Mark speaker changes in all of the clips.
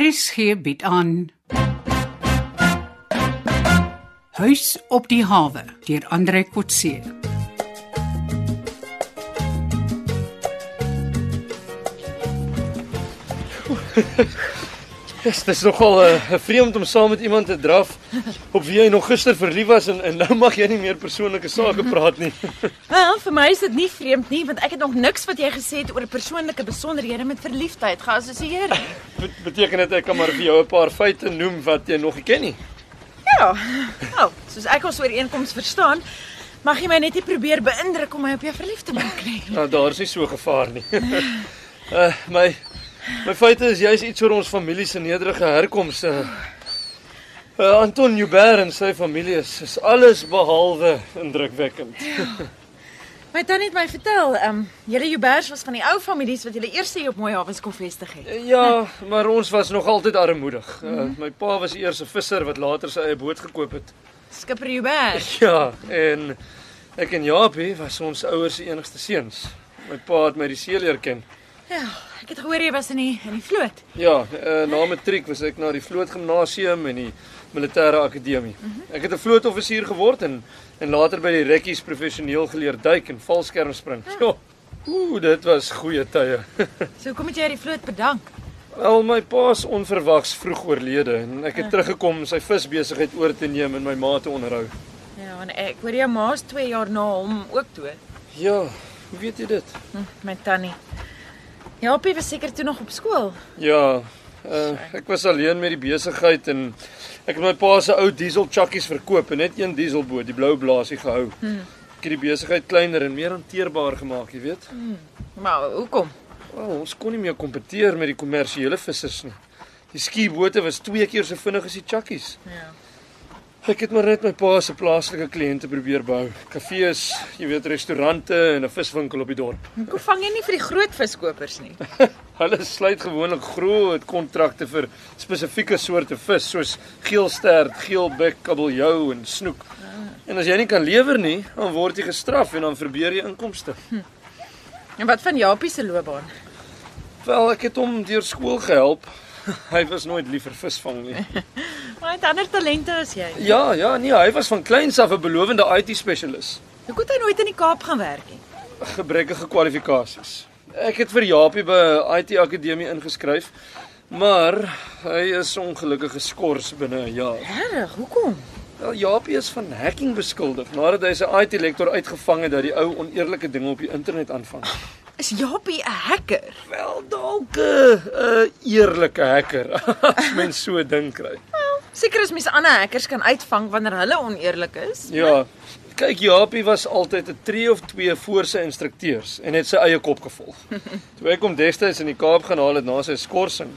Speaker 1: RSG bied aan Huis op die hawe deur Andre Kotse.
Speaker 2: Yes, dis nogal 'n uh, vreemd om saam met iemand te draf op wie jy nog gister verlief was en, en nou mag jy nie meer persoonlike sake praat nie.
Speaker 3: Wel, vir my is dit nie vreemd nie, want ek het nog niks wat jy gesê het oor persoonlike besonderhede met verliefdheid geassosieer nie.
Speaker 2: Bet beteken dit ek kan maar vir jou 'n paar feite noem wat jy nog nie ken nie.
Speaker 3: Ja. Nou, soos ek ons ooreenkoms verstaan, mag jy my net nie probeer beïndruk om my op jou verlief te maak nie.
Speaker 2: Nou daar's nie so gevaar nie. uh my my feite is jy's iets oor ons familie se nederige herkoms. Uh, uh Anton Joubert en sy familie is, is alles behalwe indrukwekkend.
Speaker 3: My tannie het my vertel, ehm um, julle Joubers was van die ou families wat julle eers hier op Mooi Hawens kon vestig het.
Speaker 2: Ja, maar ons was nog altyd armoedig. Uh, my pa was eers 'n visser wat later sy eie boot gekoop het.
Speaker 3: Skipper Joubert.
Speaker 2: Ja, en ek en Japie was ons ouers se enigste seuns. My pa het my die see leer ken.
Speaker 3: Ja, ek het gehoor jy was in die in die vloot.
Speaker 2: Ja, eh, na matriek was ek na die vlootgimnasium en die militêre akademie. Ek het 'n vlootoffisier geword en en later by die rekkies professioneel geleer duik en valskermspring. Ja. Ooh, dit was goeie tye.
Speaker 3: So hoekom het jy die vloot bedank?
Speaker 2: Wel, my pa's onverwags vroeg oorlede en ek het teruggekom om sy visbesigheid oor te neem en my ma te onderhou.
Speaker 3: Ja, want ek hoor jou ma's 2 jaar na hom ook dood.
Speaker 2: Ja, hoe weet jy dit?
Speaker 3: Hm, my tannie. Japie was seker toe nog op skool.
Speaker 2: Ja, uh, ek was alleen met die besigheid en ek het my pa se ou diesel chakkies verkoop en net een dieselboot, die blou blaasie gehou. Hmm. Ek het die besigheid kleiner en meer hanteerbaar gemaak, jy weet.
Speaker 3: Maar hoekom?
Speaker 2: Wel, ons kon nie meer kompeteer met die kommersiële vissers nie. Die skiebote was twee keer so vinnig as die chakkies.
Speaker 3: Ja.
Speaker 2: Ek het maar net my pa se plaaslike kliënte probeer bou. Kafees, jy weet, restaurante en 'n viswinkel op die dorp.
Speaker 3: Hoekom vang jy nie vir die groot viskopers nie?
Speaker 2: Hulle sluit gewoonlik groot kontrakte vir spesifieke soorte vis soos geelsterd, geelbek, kabeljou en snoek. En as jy nie kan lewer nie, dan word jy gestraf en dan verbeur jy inkomste.
Speaker 3: En wat van Japie se loopbaan?
Speaker 2: Wel, ek het hom deur skool gehelp. Hy was nooit lief vir visvang nie.
Speaker 3: Maar hy het ander talente as jy.
Speaker 2: Ja, ja, nee, hy was van kleins af 'n belowende IT-spesialis.
Speaker 3: Hoe kon hy nooit in die Kaap gaan werk nie?
Speaker 2: Gebrekkige kwalifikasies. Ek het vir Japie by 'n IT-akademie ingeskryf, maar hy is ongelukkig geskort binne 'n jaar.
Speaker 3: Regtig, hoekom?
Speaker 2: Wel Japie Nou, is van hacking beskuldig nadat hy sy IT-lektor uitgevang het dat die ou oneerlike dinge op die internet aanvang.
Speaker 3: Is Japie 'n hacker?
Speaker 2: Wel dalk 'n uh, eerlike hacker as mens so dink kry.
Speaker 3: Seker is mense ander hackers kan uitvang wanneer hulle oneerlik is.
Speaker 2: Ja. Kyk, Japie was altyd 'n tree of twee voor sy instrukteurs en het sy eie kop gevolg. Toe ek hom destyds in die Kaap gaan haal het na sy skorsing,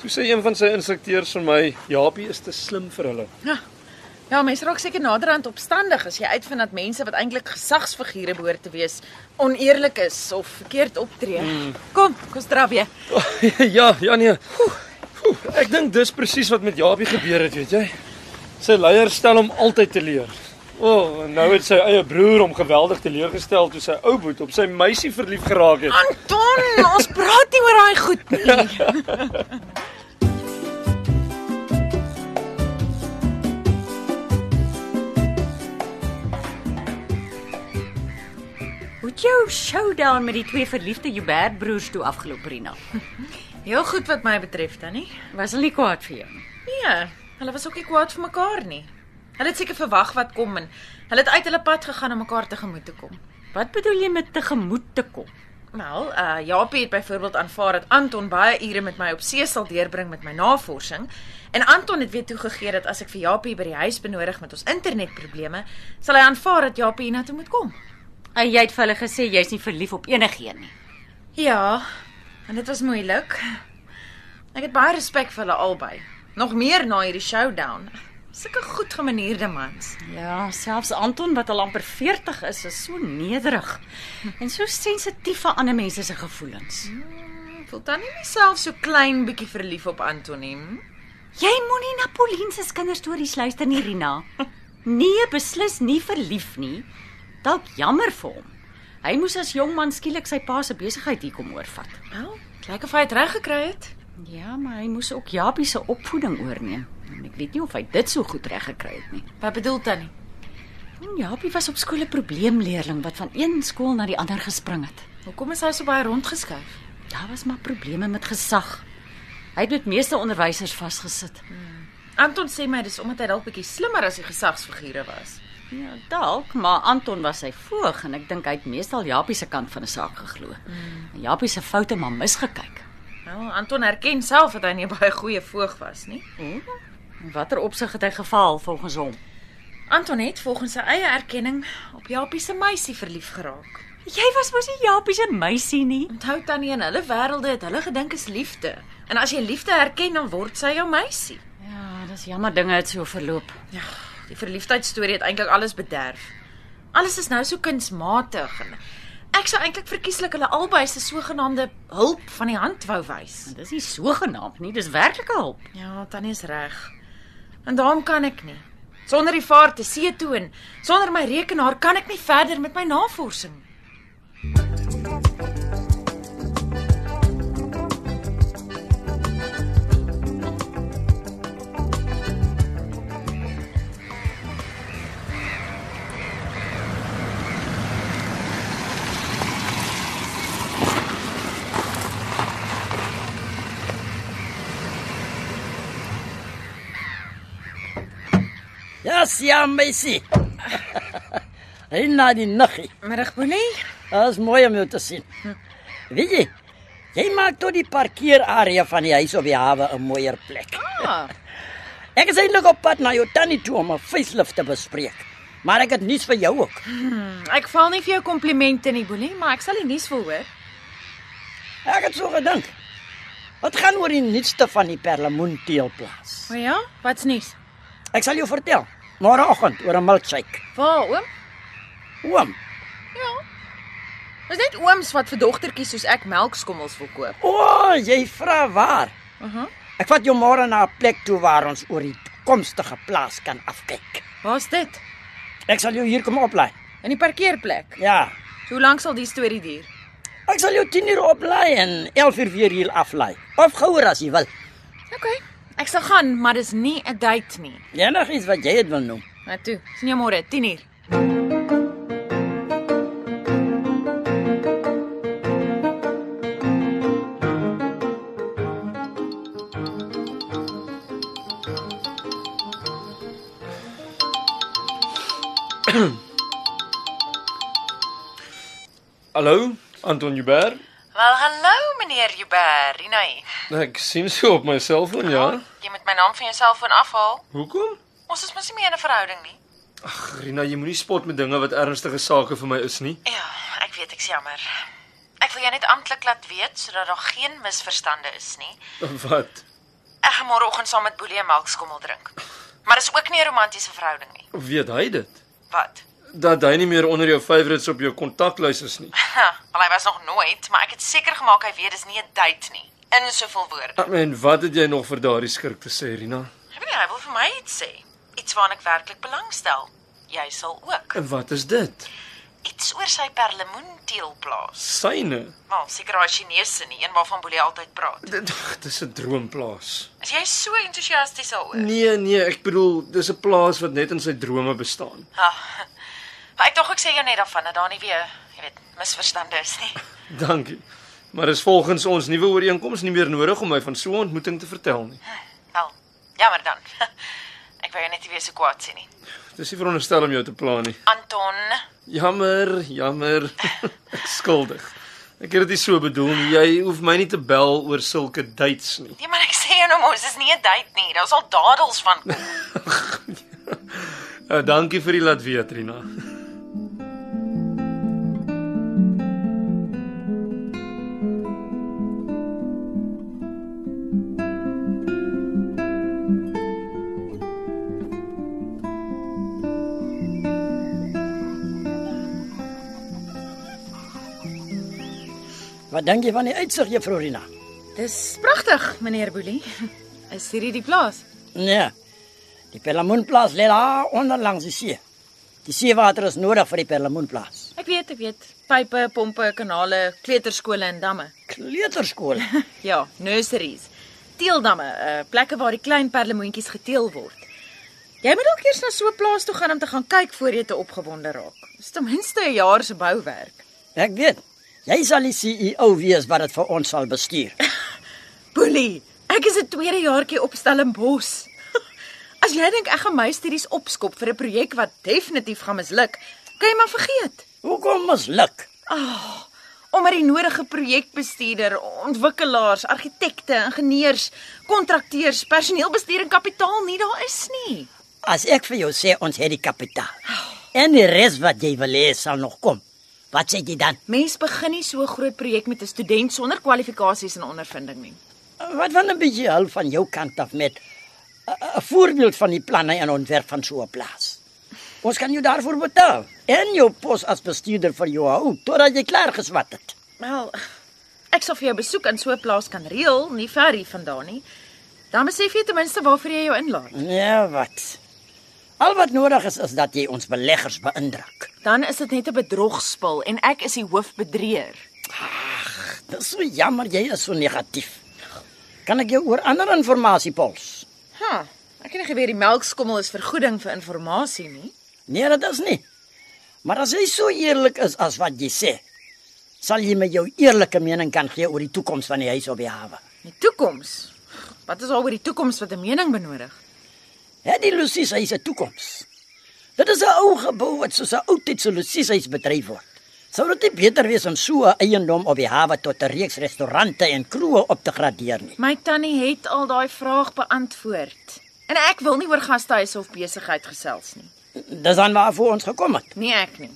Speaker 2: toe sê een van sy instrukteurs vir my, "Japie is te slim vir hulle."
Speaker 3: Ja. Ja, mense raak seker naderhand opstandig as jy uitvind dat mense wat eintlik gesagsfigure behoort te wees, oneerlik is of verkeerd optree. Mm. Kom, kom straf jy.
Speaker 2: ja, ja nee. Oeh, oeh, ek dink dis presies wat met Japie gebeur het, weet jy. Sy leier stel hom altyd te leer. O, oh, en nou het sy eie broer hom geweldig teleurgestel toe sy ou boet op sy meisie verlief geraak het.
Speaker 3: Anton, ons praat nie oor daai goed nie.
Speaker 4: Hoe het jou showdown met die twee verliefde Joubert broers toe afgeloop, Rina?
Speaker 3: Heel goed wat my betref dan nie.
Speaker 4: Was hulle nie kwaad vir jou nie?
Speaker 3: Nee, hulle was ook nie kwaad vir mekaar nie. Hulle het seker verwag wat kom en hulle het uit hulle pad gegaan om mekaar tegemoet te kom.
Speaker 4: Wat bedoel jy met tegemoet te kom?
Speaker 3: Wel, uh Japie het byvoorbeeld aanvaar dat Anton baie ure met my op see sal deurbring met my navorsing en Anton het weer toegegee dat as ek vir Japie by die huis benodig met ons internetprobleme, sal hy aanvaar dat Japie hiernatoe moet kom.
Speaker 4: En jy het vir hulle gesê jy's nie verlief op enigiemand nie.
Speaker 3: Ja, en dit was moeilik. Ek het baie respek vir hulle albei. Nog meer na hierdie showdown. Sulke goed gemanierde mans.
Speaker 4: Ja, selfs Anton wat al amper 40 is, is so nederig en so sensitief vir ander mense se gevoelens.
Speaker 3: Ek voel dan nie myself so klein bietjie verlief op Anton nie. hm?
Speaker 4: Jy moenie na Pauline se kinderstories luister nie, Rina. Nee, beslis nie verlief nie. Dalk jammer vir hom. Hy moes as jong man skielik sy pa se besigheid hier kom oorvat.
Speaker 3: Wel, lyk of hy dit reg gekry het.
Speaker 4: Ja, maar hy moes ook Japie se opvoeding oorneem. En ek weet nie of hy dit so goed reg gekry het nie.
Speaker 3: Wat bedoel tannie?
Speaker 4: En Japie was op skool 'n probleemleerling wat van een skool na die ander gespring het.
Speaker 3: Hoekom is hy so baie rondgeskuif?
Speaker 4: Daar was maar probleme met gesag. Hy het met meeste onderwysers vasgesit.
Speaker 3: Anton sê my dis omdat hy dalk bietjie slimmer as die gesagsfigure was.
Speaker 4: Ja, dalk, maar Anton was sy voog en ek dink hy het meestal Japie se kant van 'n saak geglo. En Japie se foute maar misgekyk.
Speaker 3: Nou, Anton erken self dat hy nie 'n baie goeie voog was nie.
Speaker 4: In watter opsig het hy gefaal volgens hom?
Speaker 3: Anton het volgens sy eie erkenning op Japie se meisie verlief geraak.
Speaker 4: Jy was mos nie Japie se meisie nie.
Speaker 3: Onthou tannie in hulle wêrelde het hulle gedink is liefde. En as jy liefde erken, dan word sy jou meisie.
Speaker 4: Ja, dis jammer dinge het so verloop.
Speaker 3: Ja, die verliefdheid storie het eintlik alles bederf. Alles is nou so kunsmatig en ek sou eintlik verkieslik hulle albei se sogenaamde hulp van die hand wou wys.
Speaker 4: Dis nie sogenaamd nie, dis werklike hulp.
Speaker 3: Ja, tannie is reg. En daarom kan ek nie. Sonder die vaart te see toe en sonder my rekenaar kan ek nie verder met my navorsing.
Speaker 5: Yes, ja, meisie. Rina die nuggie.
Speaker 3: Middag Boelie.
Speaker 5: Dit is mooi om jou te sien. Weet jy, jy maak tot die parkeerarea van die huis op die hawe 'n mooier plek.
Speaker 3: Ah,
Speaker 5: Ek is eintlik op pad na jou tannie toe om 'n facelift te bespreek. Maar ek het nuus vir jou ook.
Speaker 3: ek val nie vir jou komplimente nie, Boelie, maar ek sal die nuus wil hoor.
Speaker 5: Ek het so gedink. Wat gaan oor die nuutste van die perlemoenteelplaas?
Speaker 3: O ja, wat's nuus?
Speaker 5: Ek sal jou vertel môreoggend oor 'n milkshake.
Speaker 3: Waar, oom?
Speaker 5: Oom,
Speaker 3: Ja. Is net ooms wat vir dogtertjies soos ek melkskommels wil koop.
Speaker 5: o, oh, jy vra waar?
Speaker 3: Mhm.
Speaker 5: Ek vat jou môre na 'n plek toe waar ons oor die toekomstige plaas kan afkyk.
Speaker 3: Waar's dit?
Speaker 5: Ek sal jou hier kom oplaai.
Speaker 3: In die parkeerplek.
Speaker 5: Ja.
Speaker 3: Hoe lank sal die storie duur?
Speaker 5: Ek sal jou 10 uur oplaai en 11 uur weer hier aflaai. Of gouer as jy wil.
Speaker 3: OK. Ek sal gaan, maar dis nie 'n date nie.
Speaker 5: Enigiets wat jy dit wil noem.
Speaker 3: Nou toe, sien jou môre 10uur.
Speaker 2: Hallo, Anton Jubber.
Speaker 3: Wel, hallo meneer Jubber, Rinay.
Speaker 2: Ek sien so op my selfoon, ja.
Speaker 3: Jy moet my naam van jou selfoon afhaal.
Speaker 2: Hoekom?
Speaker 3: Ons is mos nie meer in 'n verhouding nie.
Speaker 2: Rina, jy moenie spot met dinge wat ernstige sake vir my is nie.
Speaker 3: Ja, ek weet ek's jammer. Ek wil jou net amptelik laat weet sodat daar geen misverstande is nie.
Speaker 2: Wat?
Speaker 3: Ek gaan môreoggend saam met Boelie 'n melkskommel drink. Maar dis ook nie 'n romantiese verhouding nie.
Speaker 2: Weet hy dit?
Speaker 3: Wat?
Speaker 2: Dat hy nie meer onder jou favorites op jou kontaklys is nie.
Speaker 3: Ha, Wel, hy was nog nooit, maar ek het seker gemaak hy weet dis nie 'n date nie. In soveel woorde.
Speaker 2: En wat het jy nog vir daardie skurk te sê, Rina?
Speaker 3: Ek weet nie, hy wil vir my iets sê. Iets waarna ek werklik belangstel. Jy sal ook.
Speaker 2: En wat is dit?
Speaker 3: Iets oor sy perlemoenteelplaas.
Speaker 2: Syne.
Speaker 3: Wel, seker daai Chinese nie, een waarvan Boelie altyd praat.
Speaker 2: Dit ag, dis 'n droomplaas.
Speaker 3: Is jy so entoesiasties daaroor?
Speaker 2: Nee, nee, ek bedoel, dis 'n plaas wat net in sy drome bestaan.
Speaker 3: Ja. Maar ek dink ek sê jou net daarvan dat daar nie weer, jy weet, misverstande is nie.
Speaker 2: Dankie. Maar is volgens ons nuwe ooreenkoms nie meer nodig om my van so 'n ontmoeting te vertel nie.
Speaker 3: Wel, jammer dan. Ek wou jou net nie weer so kwaad sien nie.
Speaker 2: Dis nie veronderstel om jou te pla nie.
Speaker 3: Anton,
Speaker 2: Jammer, jammer. Ek skuldig. Ek het dit nie so bedoel nie. Jy hoef my nie te bel oor sulke dates nie.
Speaker 3: nee maar ek sê jou nou mos, dis nie 'n date nie. Daar's al dadels van.
Speaker 2: Uh, dankie vir die laat weet, Rina.
Speaker 5: Wat dink jy van die uitsig, juffrou Rina?
Speaker 3: Dis pragtig, meneer Boelie. Is hierdie die plaas?
Speaker 5: Nee. Die perlemoenplaas lê daar onder langs die see. Die seewater is nodig vir die perlemoenplaas.
Speaker 3: Ek weet, ek weet. Pype, pompe, kanale, kleuterskole en damme.
Speaker 5: Kleuterskool.
Speaker 3: Ja, nurseries. teeldamme, uh, plekke waar die klein perlemoentjies geteel word. Jy moet dalk eers na so 'n plaas toe gaan om te gaan kyk voor jy te opgewonde raak. Dis ten minste 'n jaar se bouwerk.
Speaker 5: Ek weet. Jy sal die CEO wees wat dit vir ons sal bestuur.
Speaker 3: Boelie, ek is 'n tweede jaartjie op Stellenbosch. As jy dink ek gaan my studies opskop vir 'n projek wat definitief gaan misluk, kan jy maar vergeet. Ah,
Speaker 5: Hoekom misluk?
Speaker 3: Omdat die nodige projekbestuurder, ontwikkelaars, argitekte, ingenieurs, kontrakteurs, personeelbestuur en kapitaal nie daar is nie.
Speaker 5: As ek vir jou sê ons het die kapitaal. En die res wat jy wil hê sal nog kom. Wat sê jy dan?
Speaker 3: Mens begin nie so 'n groot projek met 'n student sonder kwalifikasies en ondervinding nie.
Speaker 5: Wat van 'n bietjie hulp van jou kant af met 'n- 'n voorbeeld van die planne en ontwerp van so 'n plaas? Ons kan jou daarvoor betaal en jou pos as bestuurder vir jou hou totdat jy klaar geswat het.
Speaker 3: Wel, ek sal vir jou besoek aan so 'n plaas kan reël, nie ver hier vandaan nie. Dan besef jy ten minste waarvoor jy jou inlaat.
Speaker 5: Ja, wat? Al wat nodig is is dat jy ons beleggers beïndruk.
Speaker 3: Dan is dit net 'n bedrogspel en ek is die hoofbedrieër.
Speaker 5: Dit is so jammer jy is so negatief. Kan ek jou oor ander inligting pols?
Speaker 3: Ha, ek het nie geweet die melkskommel is vergoeding vir inligting nie.
Speaker 5: Nee, dit is nie. Maar as jy so eerlik is as wat jy sê, sal jy my jou eerlike mening kan gee oor die toekoms van die huis op die hawe.
Speaker 3: Die toekoms. Wat is al oor die toekoms wat 'n mening benodig?
Speaker 5: Het die Lucies huis 'n toekoms? Dit is 'n ou gebou wat soos 'n ou tydse Lucies huis bedryf word. Sou dit nie beter wees om so 'n eiendom op die hawe tot 'n reeks restaurante en kroë op te gradeer nie?
Speaker 3: My tannie het al daai vraag beantwoord. En ek wil nie oor gastehuis of besigheid gesels nie.
Speaker 5: Dis dan waarvoor ons gekom het.
Speaker 3: Nee, ek nie.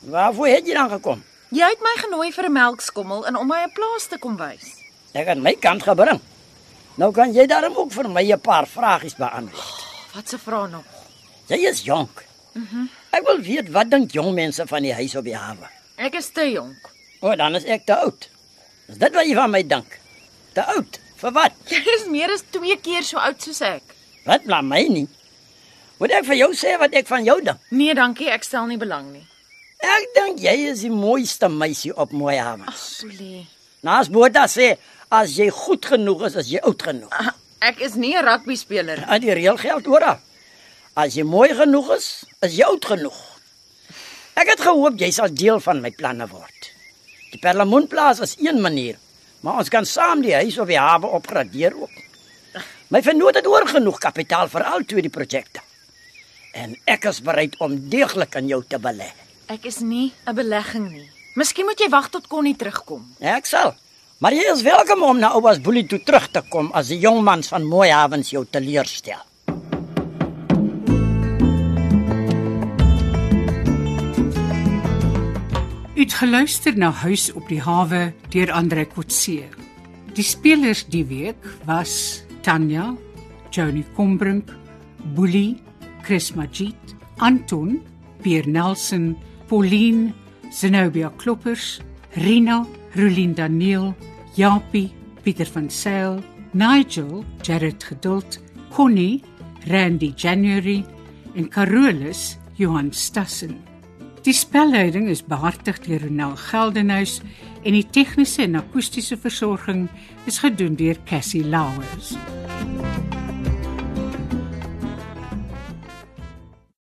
Speaker 5: Waarvoor het jy dan gekom?
Speaker 3: Jy het my genooi vir 'n melkskommel en om my 'n plaas te kom wys.
Speaker 5: Ek het my kant gebring. Nou kan jy daarom ook vir my 'n paar vragies beantwoord.
Speaker 3: Wat 'n vraag nog.
Speaker 5: Jy is jonk. Mhm. ek wil weet wat dink jong mense van die huis op die hawe?
Speaker 3: Ek is te jonk.
Speaker 5: O, dan is ek te oud. Is dit wat jy van my dink? Te oud? Vir wat?
Speaker 3: Jy is meer as 2 keer so oud soos ek.
Speaker 5: Wat bla my nie. Moet ek vir jou sê wat ek van jou dink?
Speaker 3: Nee, dankie, ek stel nie belang nie.
Speaker 5: Ek dink jy is die mooiste meisie op mooi hawe.
Speaker 3: Soelie.
Speaker 5: Naas Botha sê as jy goed genoeg is, is jy oud genoeg.
Speaker 3: Ek is nie 'n rugby speler nie.
Speaker 5: En die reël geld oral. As jy mooi genoeg is, is jy oud genoeg. Ek het gehoop jy sal deel van my planne word. Die Perlemoentplaas is een manier, maar ons kan saam die huis op die hawe opgradeer ook. My vennoot het oor genoeg kapitaal vir al twee die projekte. En ek is bereid om deeglik in jou te belê.
Speaker 3: Ek is nie 'n belegging nie. Miskien moet jy wag tot Connie terugkom.
Speaker 5: Ek sal. Maar jy is welkom om na Oupas Boelie toe terug te kom as die jong mans van Mooi Havens jou teleurstel.
Speaker 1: Uitgeluister na Huis op die hawe deur Andre Kotse. Die spelers die week was Tanya, Johnny Combrink, Boelie, Chris Magid, Anton, Pierre Nelson, Pauline, Zenobia Kloppers, Rina, Rulien Daniel, Japie, Pieter van Sail, Nigel, Jared Geduld, Connie, Randy January en Carolus Johan Stassen. Die spelleiding is behartig deur Ronel Geldenhuys en die tegniese en akoestiese versorging is gedoen deur Cassie Lauers.